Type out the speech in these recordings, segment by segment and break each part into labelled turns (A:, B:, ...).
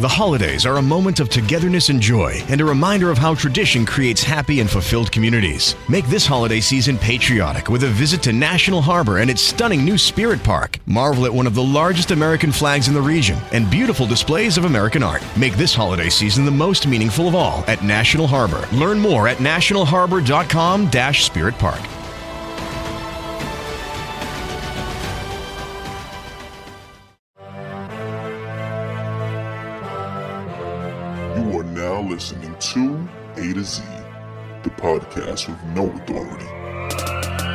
A: The holidays are a moment of togetherness and joy and a reminder of how tradition creates happy and fulfilled communities. Make this holiday season patriotic with a visit to National Harbor and its stunning new Spirit Park. Marvel at one of the largest American flags in the region and beautiful displays of American art. Make this holiday season the most meaningful of all at National Harbor. Learn more at nationalharbor.com-spirit park.
B: You are now listening to A to Z, the podcast with no authority.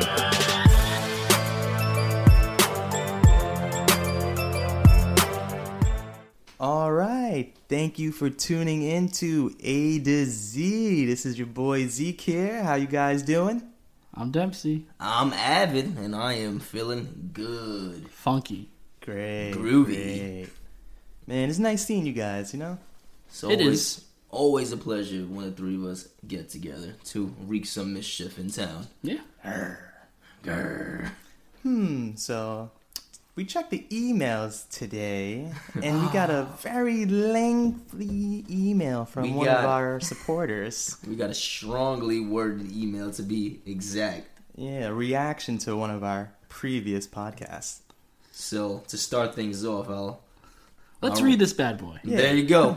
C: All right. Thank you for tuning in to A to Z. This is your boy Zeke here. How you guys doing?
D: I'm Dempsey.
E: I'm Avid, and I am feeling good.
D: Funky.
C: Great.
E: Groovy.
C: great. Man, it's nice seeing you guys, you know?
E: So
D: It
E: always,
D: is.
E: always a pleasure when the three of us get together to wreak some mischief in town.
D: Yeah.
E: Grr.
C: Hmm, so we checked the emails today and we got a very lengthy email from
E: We
C: one
E: got-
C: of our supporters.
E: We got a strongly worded email to be exact.
C: Yeah, a reaction to one of our previous podcasts.
E: So to start things off, I'll
D: Let's
E: All right.
D: read this bad boy.
E: There you go.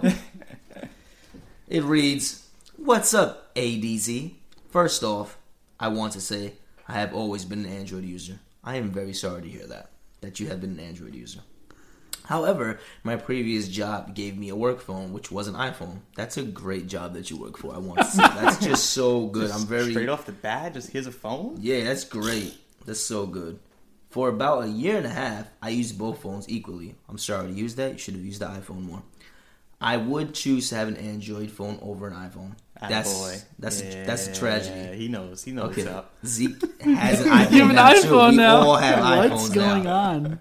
E: it reads, What's up, ADZ? First off, I want to say I have always been an Android user. I am very sorry to hear that, that you have been an Android user. However, my previous job gave me a work phone, which was an iPhone. That's a great job that you work for. I want to say that's just so good. I'm very
C: Straight off the bat, just here's a phone?
E: yeah, that's great. That's so good. For about a year and a half, I used both phones equally. I'm sorry to use that. You should have used the iPhone more. I would choose to have an Android phone over an iPhone. That's
C: Attaboy.
E: that's that's a tragedy.
C: Ah, Yeah, he knows. He knows
E: Okay,
C: what's up.
E: Zeke has an iPhone
D: You have an
E: now
D: iPhone
E: too.
D: now.
E: We all have
D: What's
E: iPhones
D: going
E: now.
D: on?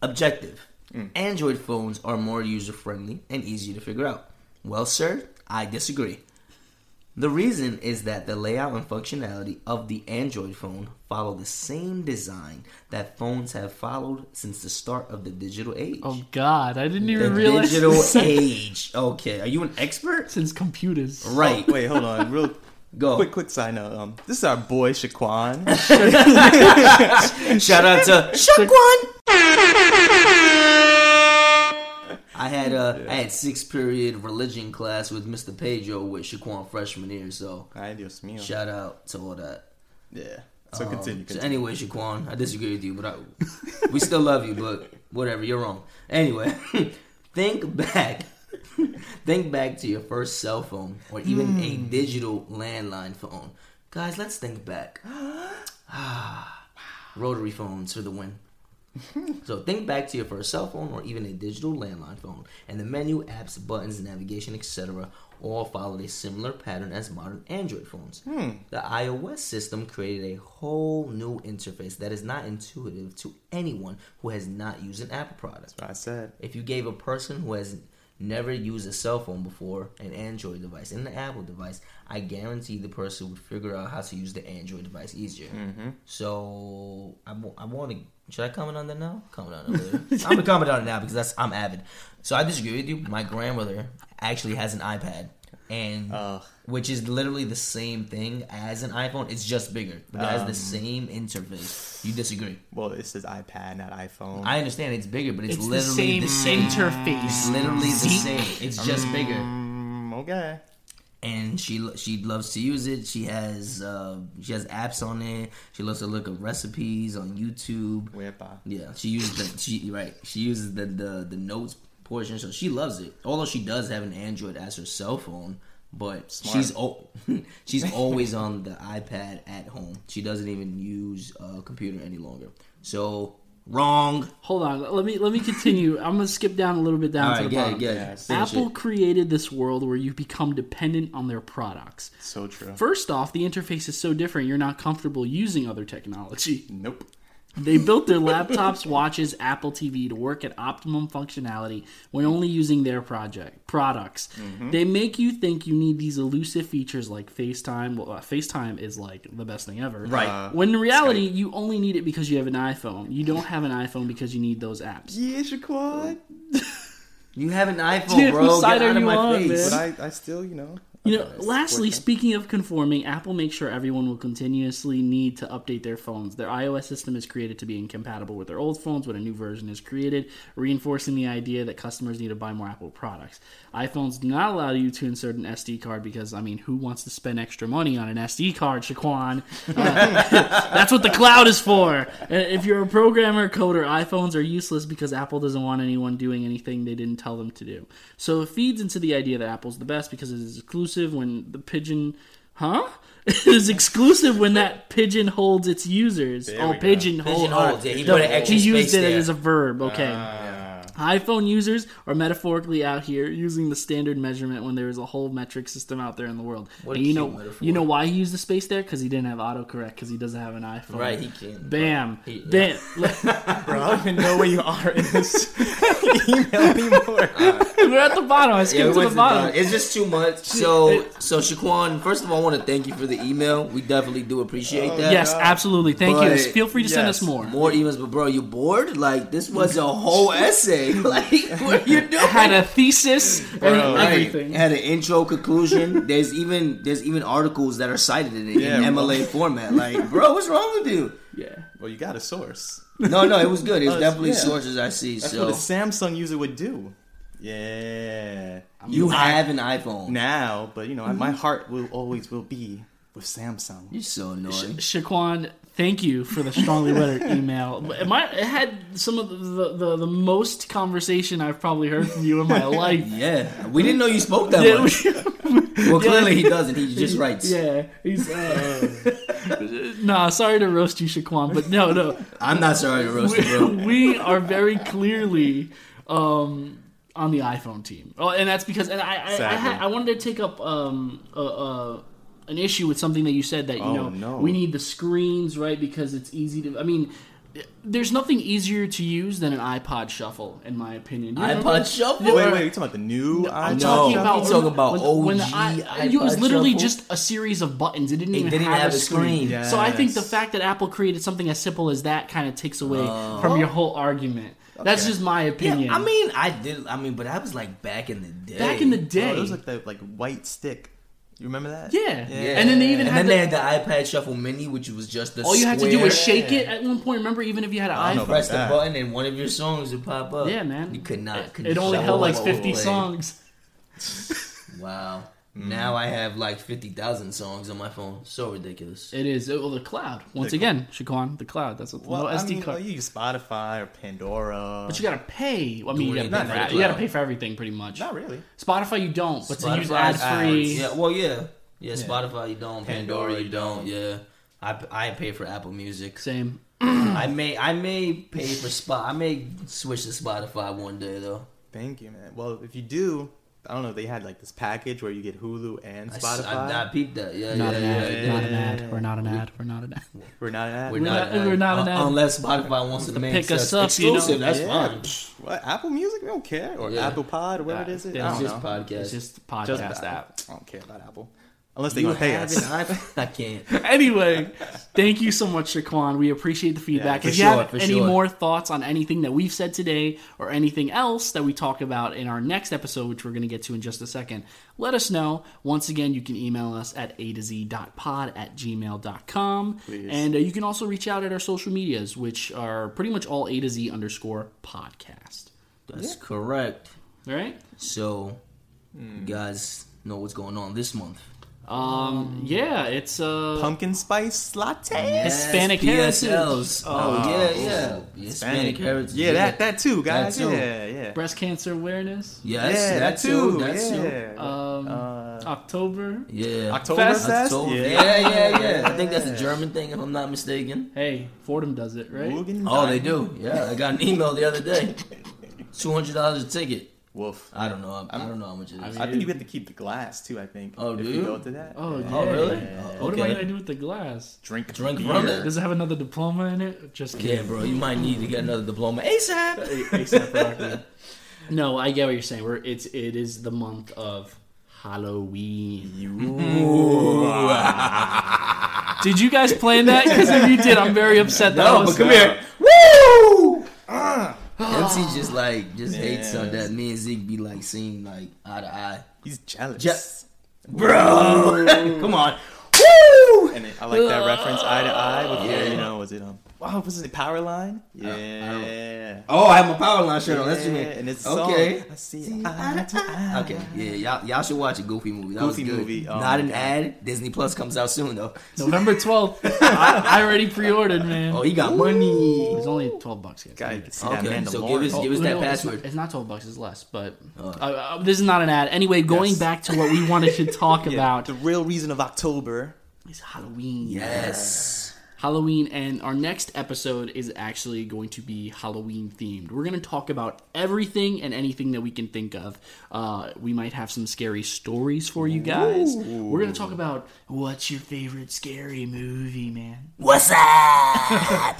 E: Objective.
C: Hmm.
E: Android phones are more user friendly and easier to figure out. Well, sir, I disagree. The reason is that the layout and functionality of the Android phone follow the same design that phones have followed since the start of the digital age.
D: Oh God, I didn't
E: the
D: even realize
E: digital
D: this-
E: age. Okay, are you an expert?
D: since computers.
E: Right.
C: Wait, hold on. Real
E: Go.
C: quick, quick side note. Um, this is our boy Shaquan.
E: Shout out to Shaquan. I had uh, I had six period religion class with Mr. Pedro with Shaquan freshman year, so
C: Ay, Dios mío.
E: shout out to all that.
C: yeah. So
E: Um,
C: continue.
E: So
C: continue.
E: anyway, Shaquan, I disagree with you, but I, we still love you. But whatever, you're wrong. Anyway, think back, think back to your first cell phone or even a digital landline phone, guys. Let's think back. Ah, Rotary phones for the win. So think back to your first cell phone or even a digital landline phone, and the menu, apps, buttons, navigation, etc. all followed a similar pattern as modern Android phones. The iOS system created a whole new interface that is not intuitive to anyone who has not used an Apple product.
C: I said.
E: If you gave a person who has never used a cell phone before an Android device and an Apple device, I guarantee the person would figure out how to use the Android device easier. So I, wa- I want to. Should I comment on that now? Comment on it later. I'm gonna comment on it now because that's I'm avid. So I disagree with you. My grandmother actually has an iPad, and
C: Ugh.
E: which is literally the same thing as an iPhone. It's just bigger, but it has the same interface. You disagree?
C: Well, this is iPad, not iPhone.
E: I understand it's bigger, but it's,
D: It's the
E: literally
D: same,
E: the same
D: interface.
E: literally the
D: Zeke.
E: same. It's just bigger,
C: Mm, okay.
E: and she lo- she loves to use it. She has uh, she has apps on it. She loves to look up recipes on YouTube.
C: Wepa.
E: Yeah, she uses the she right. She uses the the the notes portion, so she loves it. Although she does have an Android as her cell phone, but she's o- she's always on the iPad at home. She doesn't even use a computer any longer. So wrong.
D: Hold on. Let me let me continue. I'm gonna skip down a little bit down
E: All
D: to
E: right,
D: the
E: yeah,
D: bottom.
E: yeah. finish
D: Apple
E: it.
D: created this world where you become dependent on their products.
C: So true.
D: First off, the interface is so different you're not comfortable using other technology.
C: Nope.
D: They built their laptops, watches, Apple TV to work at optimum functionality when only using their project products. They make you think you need these elusive features like FaceTime. Well, uh, FaceTime is like the best thing ever.
E: Right.
D: When in reality, you only need it because you have an iPhone. You don't have an iPhone because you need those apps.
C: Yeah, Shaquan.
E: You have an iPhone,
D: Dude,
E: bro.
D: whose side
E: Get out
D: are
E: of
D: you
E: my
D: on,
E: face.
C: But
D: man?
C: I, I still, you know.
D: You
C: I
D: know,
C: support
D: lastly,
C: them.
D: speaking of conforming, Apple makes sure everyone will continuously need to update their phones. Their iOS system is created to be incompatible with their old phones when a new version is created, reinforcing the idea that customers need to buy more Apple products. iPhones do not allow you to insert an SD card because, I mean, who wants to spend extra money on an SD card, Shaquan? That's what the cloud is for. And If you're a programmer, coder, iPhones are useless because Apple doesn't want anyone doing anything they didn't tell them to do. So it feeds into the idea that Apple's the best because it is exclusive when the pigeon, huh? It is exclusive when that pigeon holds its users. oh, pigeon holds.
E: Pigeonholes, yeah, he put an extra
D: he used
E: space
D: it
E: there.
D: as a verb. Okay iPhone users are metaphorically out here using the standard measurement when there is a whole metric system out there in the world.
E: What a
D: and you
E: cute
D: know,
E: metaphor.
D: you know why he used the space there? Because he didn't have autocorrect. Because he doesn't have an iPhone.
E: Right, he can't.
D: Bam.
E: He-
D: Bam.
C: bro, I don't even know where you are in this email anymore.
D: We're at the bottom. I
E: Yeah,
D: skipped
E: we
D: to
E: went
D: the bottom.
E: It's just too much. So, so Shaquan, first of all, I want to thank you for the email. We definitely do appreciate that.
D: Uh, yes, absolutely. Thank you.
E: But-
D: Feel free to send
C: yes.
D: us more.
E: More emails, but bro, you bored? Like this was a whole essay. Like what are you doing?
D: Had a thesis and
E: Right.
D: everything.
E: It had an intro, conclusion. there's even there's even articles that are cited in it
C: Yeah,
E: in
C: bro.
E: MLA format. Like, bro, what's wrong with you?
D: Yeah.
C: Well, you got a source.
E: No, no, it was good. It was
C: Uh,
E: definitely
C: yeah.
E: sources I see.
C: That's
E: so
C: what a Samsung user would do. Yeah.
E: you have Mm-hmm. an iPhone.
C: now, but you know, my heart will always will be with Samsung.
E: You're so annoying.
D: Shaquan, thank you for the strongly lettered email. But My, it had some of the, the, the most conversation I've probably heard from you in my life.
E: Yeah, we didn't know you spoke that
D: Yeah,
E: much. Well, clearly he doesn't. He just writes.
D: Yeah, he's. Uh, nah, sorry to roast you, Shaquan, but no, no,
E: I'm not sorry to roast you,
D: we,
E: bro.
D: we are very clearly um, on the iPhone team, oh, and that's because and I I, I,
C: Sadly.
D: had, I wanted to take up um, uh, uh, an issue with something that you said that you
C: Oh,
D: know
C: no.
D: we need the screens right because it's easy to I mean. There's nothing easier to use than an iPod Shuffle, in my opinion. You remember-
E: iPod shuffle.
C: Wait, wait, you talking about the new iPod?
E: talking
C: Shuffle?
E: about- he's talking about
D: when, when the
E: OG
D: I, it was
E: iPod
D: literally
E: Shuffle.
D: just a series of buttons. It didn't
E: It
D: even
E: didn't
D: have,
E: have
D: a
E: a
D: screen.
E: screen.
D: So I think the
C: Yes.
D: fact that Apple created something as simple as that kind of takes away from your whole argument. That's just my
E: Yeah,
D: opinion.
E: I mean, I did. I mean, but I was like back in the day.
D: back in the
C: Oh,
D: day,
C: it was like the like white stick. You remember that?
D: yeah.
E: Yeah.
D: and then they even
E: and
D: had,
E: then
D: the,
E: they had the iPad Shuffle Mini, which was just the
D: all you had to do
E: square.
D: was shake it at one point. Remember, even if you had an
C: don't know
D: iPhone,
E: press the
C: Yeah.
E: button, and one of your songs would pop up.
D: yeah, man,
E: you could not.
D: It, it only
E: control
D: held like
E: what
D: fifty
E: played.
D: songs. Mm-hmm.
E: Wow. Now I have like fifty thousand songs on my phone. So ridiculous.
D: It is oh, the cloud once again, Shaquan. The cloud. That's what
C: Well,
D: no
C: I
D: SD
C: mean,
D: card.
C: well, you use Spotify or Pandora.
D: But you gotta pay. I mean, you gotta pay,
E: anything
D: for,
E: for the
D: you gotta
E: cloud.
D: pay for everything pretty much.
C: Not really.
D: Spotify, you don't, but to use ad
E: Spotify's
D: free.
E: Yeah, well, yeah. yeah, Spotify you don't, Pandora, you don't. Yeah, I, I pay for Apple Music.
D: Same.
E: I may I may pay for spot. I may switch to Spotify one day though.
C: Thank you, man. Well, if you do, I don't know. They had like this package where you get Hulu and
E: I s-
C: Spotify.
E: I, I, peeped that. Yeah,
D: Not
E: yeah,
D: an
E: yeah,
D: ad.
E: yeah.
D: Not an ad. We're not an ad. We're not an ad.
C: We're not at.
E: We're,
C: We're
E: not,
D: not- we're not an
E: uh,
D: ad.
E: unless Spotify wants to make
D: pick us
E: us
D: up, you know?
E: exclusive. That's
C: Yeah.
E: fine.
C: What Apple Music? We don't care. Or
E: Yeah.
C: Apple Pod, or whatever
D: Uh,
C: it is. I
D: yeah,
C: don't
E: It's just
C: know.
E: podcast.
D: It's just podcast app.
C: I don't care about Apple, unless they
E: you
C: gonna pay
E: have
C: us.
E: an iPhone? I can't.
D: Anyway, thank you so much, Shaquan. We appreciate the feedback.
E: for
D: if
E: sure,
D: you have
E: for
D: any
E: sure.
D: more thoughts on anything that we've said today or anything else that we talk about in our next episode, which we're going to get to in just a second, let us know. Once again, you can email us at a to z dot pod at gmail.com. And uh, you can also reach out at our social medias, which are pretty much all a to z underscore podcast.
E: That's correct.
D: All right?
E: So, you guys know what's going on this month.
D: Um, yeah, it's uh,
C: Pumpkin spice latte.
D: Hispanic
E: Yes,
D: heritage.
E: PSLs. Oh, yeah, yeah. Hispanic heritage.
C: Yeah, that that too, guys.
E: too.
C: Yeah, yeah.
D: breast cancer awareness.
E: Yes,
C: yeah,
E: that too. That too.
C: yeah.
D: Um,
E: Uh,
D: October.
E: Yeah.
C: October
D: Fest.
C: Fest.
E: October.
C: Yeah.
E: Yeah, yeah, yeah. I think that's a German thing, if I'm not mistaken.
D: Hey, Fordham does it, right?
C: Mugen
E: Oh,
C: Dai-
E: they do. Yeah, I got an email the other day. Two hundred dollars a ticket.
C: Woof.
E: I don't know. I, I don't know how much it is.
C: I think you have to keep the glass too. I think.
E: Oh,
C: if
E: do
C: you?
E: you?
C: go to that.
D: Oh, yeah.
E: oh, really?
D: What
E: Oh,
D: am I gonna
E: okay.
D: do with the glass?
C: Drink
E: Drink
C: beer.
E: from it.
D: Does it have another diploma in it? Just
E: Yeah,
D: kidding.
E: bro. You might need to get another diploma ASAP.
D: No, I get what you're saying. We're it's it is the month of Halloween. did you guys plan that? Because if you did, I'm very upset. That I
E: No,
D: was-
E: but come here. Woo! MC just like just hates
C: Yeah.
E: something that me and Zeke be like seeing like eye to eye.
C: He's jealous.
E: Je- Bro, come on. Woo!
C: and it, I like that reference, eye to eye. With yeah. you know, was it um? Wow, was it Powerline? Yeah.
E: Oh, I have my power line shirt on. That's
C: yeah,
E: what you mean.
C: and it's a song.
E: okay.
C: I see eye to eye.
E: Okay, yeah, y'all, y'all should watch a Goofy movie. That
C: Goofy
E: was good.
C: movie, oh
E: Not
C: my
E: an
C: God.
E: ad. Disney Plus comes out soon though.
D: November 12th. I, I already pre-ordered, man.
E: Oh, he got money.
D: It's only 12 bucks, guys.
C: God, you can see
E: Okay,
C: that
E: so give us
C: Mandalorian.
E: give us that
D: No, it's not-
E: password.
D: It's not 12 bucks, it's less, but uh, uh, this is not an ad. Anyway, going
C: Yes.
D: back to what we wanted to talk
C: Yeah,
D: about
C: Oh, the real reason of October.
D: is Halloween.
E: Yes.
D: Halloween, and our next episode is actually going to be Halloween themed. We're going to talk about everything and anything that we can think of. Uh, we might have some scary stories for you guys. We're going to talk about what's your favorite scary movie, man.
E: What's up?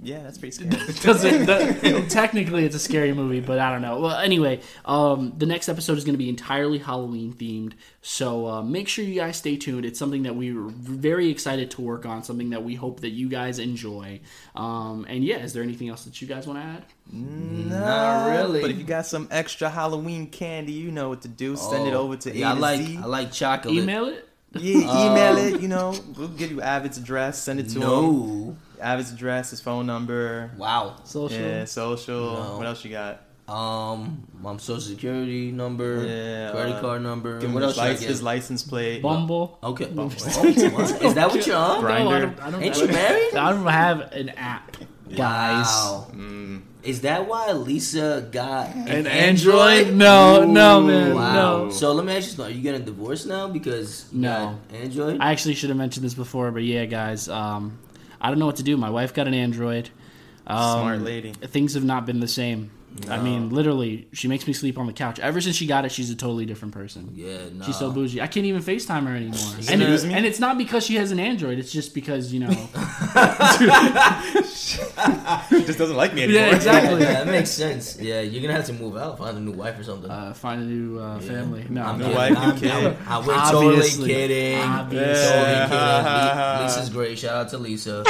C: Yeah, that's pretty scary.
D: Doesn't that- technically it's a scary movie, but I don't know. Well, anyway, um, the next episode is going to be entirely Halloween themed, so uh, make sure you guys stay tuned. It's something that we were very excited to work on, something that we hope that you guys enjoy. Um, and yeah, is there anything else that you guys want to add?
E: Not really.
C: But if you got some extra Halloween candy, you know what to do. Send it
E: Oh,
C: over to
E: yeah,
C: A
E: I
C: to
E: like
C: Z.
E: I like chocolate.
D: Email it.
C: Yeah, email it. You know, we'll give you Avid's address. Send it to him.
E: No.
C: Avid's address, his phone number.
E: Wow.
D: Social.
C: Yeah, social.
E: No.
C: What else you got?
E: Um, my social security number,
C: Yeah,
E: credit
C: uh,
E: card number.
C: Give him
E: What
C: his
E: else should I
C: lic-
E: get?
C: His license plate.
D: Bumble.
E: okay. Oh, what? Is that what you're on?
D: No, I
C: Grindr.
D: don't, I don't,
E: Ain't you married?
D: I don't have an app, guys.
E: Wow.
C: Mm.
E: Is that why Lisa got an,
D: An Android? No, Oh, no, man,
E: Wow.
D: no.
E: So let me ask you something. Are you getting divorced now because you
D: No.
E: got Android?
D: I actually should have mentioned this before, but yeah, guys, um, I don't know what to do. My wife got an Android. Um,
C: Smart lady.
D: Things have not been the same. I mean, literally, she makes me sleep on the couch. Ever since she got it, she's a totally different person.
E: yeah, no.
D: She's so bougie. I can't even FaceTime her anymore. And, it-
C: Excuse me?
D: and it's not because she has an Android. It's just because, you know.
C: Just doesn't like me anymore.
D: yeah,
E: Yeah,
D: exactly.
E: that makes sense. Yeah, you're gonna have to move out, find a new wife or something.
D: Uh, find a new uh, family. No, I'm
E: I'm
C: New
D: kidding.
E: kidding.
C: wife, new
E: I'm,
C: kid.
E: I'm- I'm- we're
D: Obviously.
E: totally kidding.
D: Obviously.
E: Totally kidding.
C: Yeah.
E: Le- Lisa's great. Shout out to Lisa.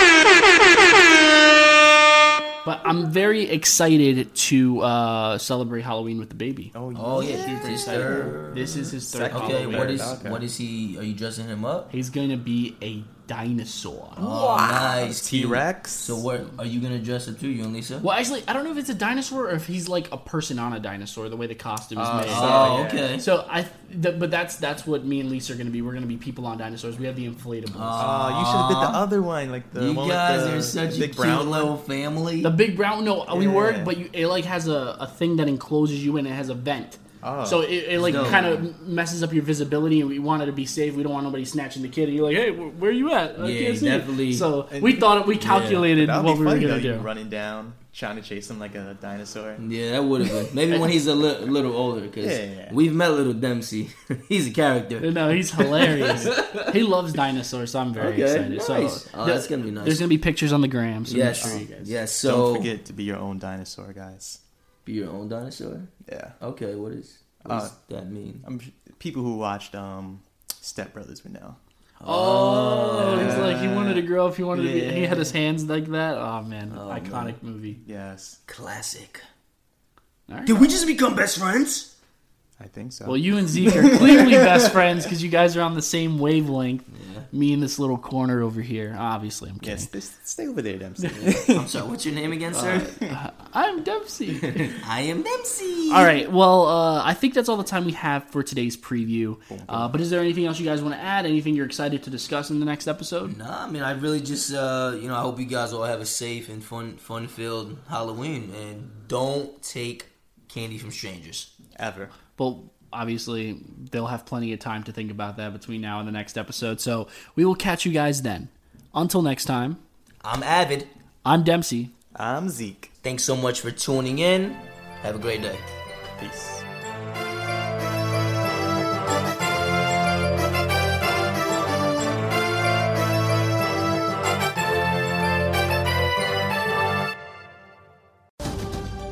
D: But I'm very excited to uh, celebrate Halloween with the baby.
C: Oh,
E: Oh yeah,
C: She's
E: sister.
D: This is his third
C: Second.
E: Okay,
D: Halloween.
E: what is
C: Okay.
E: what is he? Are you dressing him up?
D: He's going to be a dinosaur.
E: Oh, nice.
C: T Rex.
E: So what are you gonna dress up too, you and Lisa?
D: Well, actually, I don't know if it's a dinosaur or if he's like a person on a dinosaur. The way the costume is made.
E: Oh,
C: Yeah.
E: okay.
D: So I, th- but that's that's what me and Lisa are gonna be. We're gonna be people on dinosaurs. We have the inflatables.
C: Oh, you should have did the other one, like the
E: you
C: one
E: guys
C: with the
E: are such a
C: big
E: cute
C: brown
E: little family.
D: the big brown. No, we were,
C: Yeah.
D: but you, it like has a, a thing that encloses you and it has a vent.
C: Oh.
D: So it, it like
E: No.
D: kind of messes up your visibility, and we wanted to be safe. We don't want nobody snatching the kid. And you're like, hey, wh- where are you at? I
E: Yeah,
D: can't see you."
E: definitely.
D: So we thought we calculated
C: That would
D: what
C: be
D: we were
C: funny
D: gonna
C: though. You
D: do.
C: running down, trying to chase him like a dinosaur.
E: yeah, that would have been maybe when he's a li- little older because
C: Yeah.
E: we've met little Dempsey. he's a character.
D: No, he's hilarious. he loves dinosaurs, so I'm very
E: Okay,
D: excited.
E: nice.
D: So
E: Oh,
D: th-
E: that's gonna be nice.
D: There's gonna be pictures on the gram. So
E: Yes,
D: make sure you guys.
E: yes.
C: Don't
E: So
C: forget to be your own dinosaur, guys.
E: be your own dinosaur.
C: Yeah,
E: Okay, what is what does
C: Uh,
E: that mean?
C: I'm, people who watched um, Step Brothers would know.
D: Oh, he's like he wanted to grow up. He wanted to be. and He
C: Yeah.
D: had his hands like that. Oh man, iconic movie.
C: Yes,
E: Classic.
D: All right.
E: Did we just become best friends?
C: I think so.
D: Well, you and Zeke are clearly best friends because you guys are on the same wavelength. Me in this little corner over here. Obviously, I'm kidding.
C: yes, this, stay over there, Dempsey.
E: I'm sorry. What's your name again, sir?
D: I'm Dempsey.
E: I am Dempsey.
D: all right. Well, uh, I think that's all the time we have for today's preview. Uh, but is there anything else you guys want to add? Anything you're excited to discuss in the next episode?
E: No, I mean I really just uh, you know I hope you guys all have a safe and fun fun filled Halloween and don't take candy from strangers.
C: Ever.
D: Well, obviously, they'll have plenty of time to think about that between now and the next episode. So we will catch you guys then. Until next time,
E: I'm Avid.
D: I'm Dempsey.
C: I'm Zeke.
E: Thanks so much for tuning in. Have a great day.
C: Peace.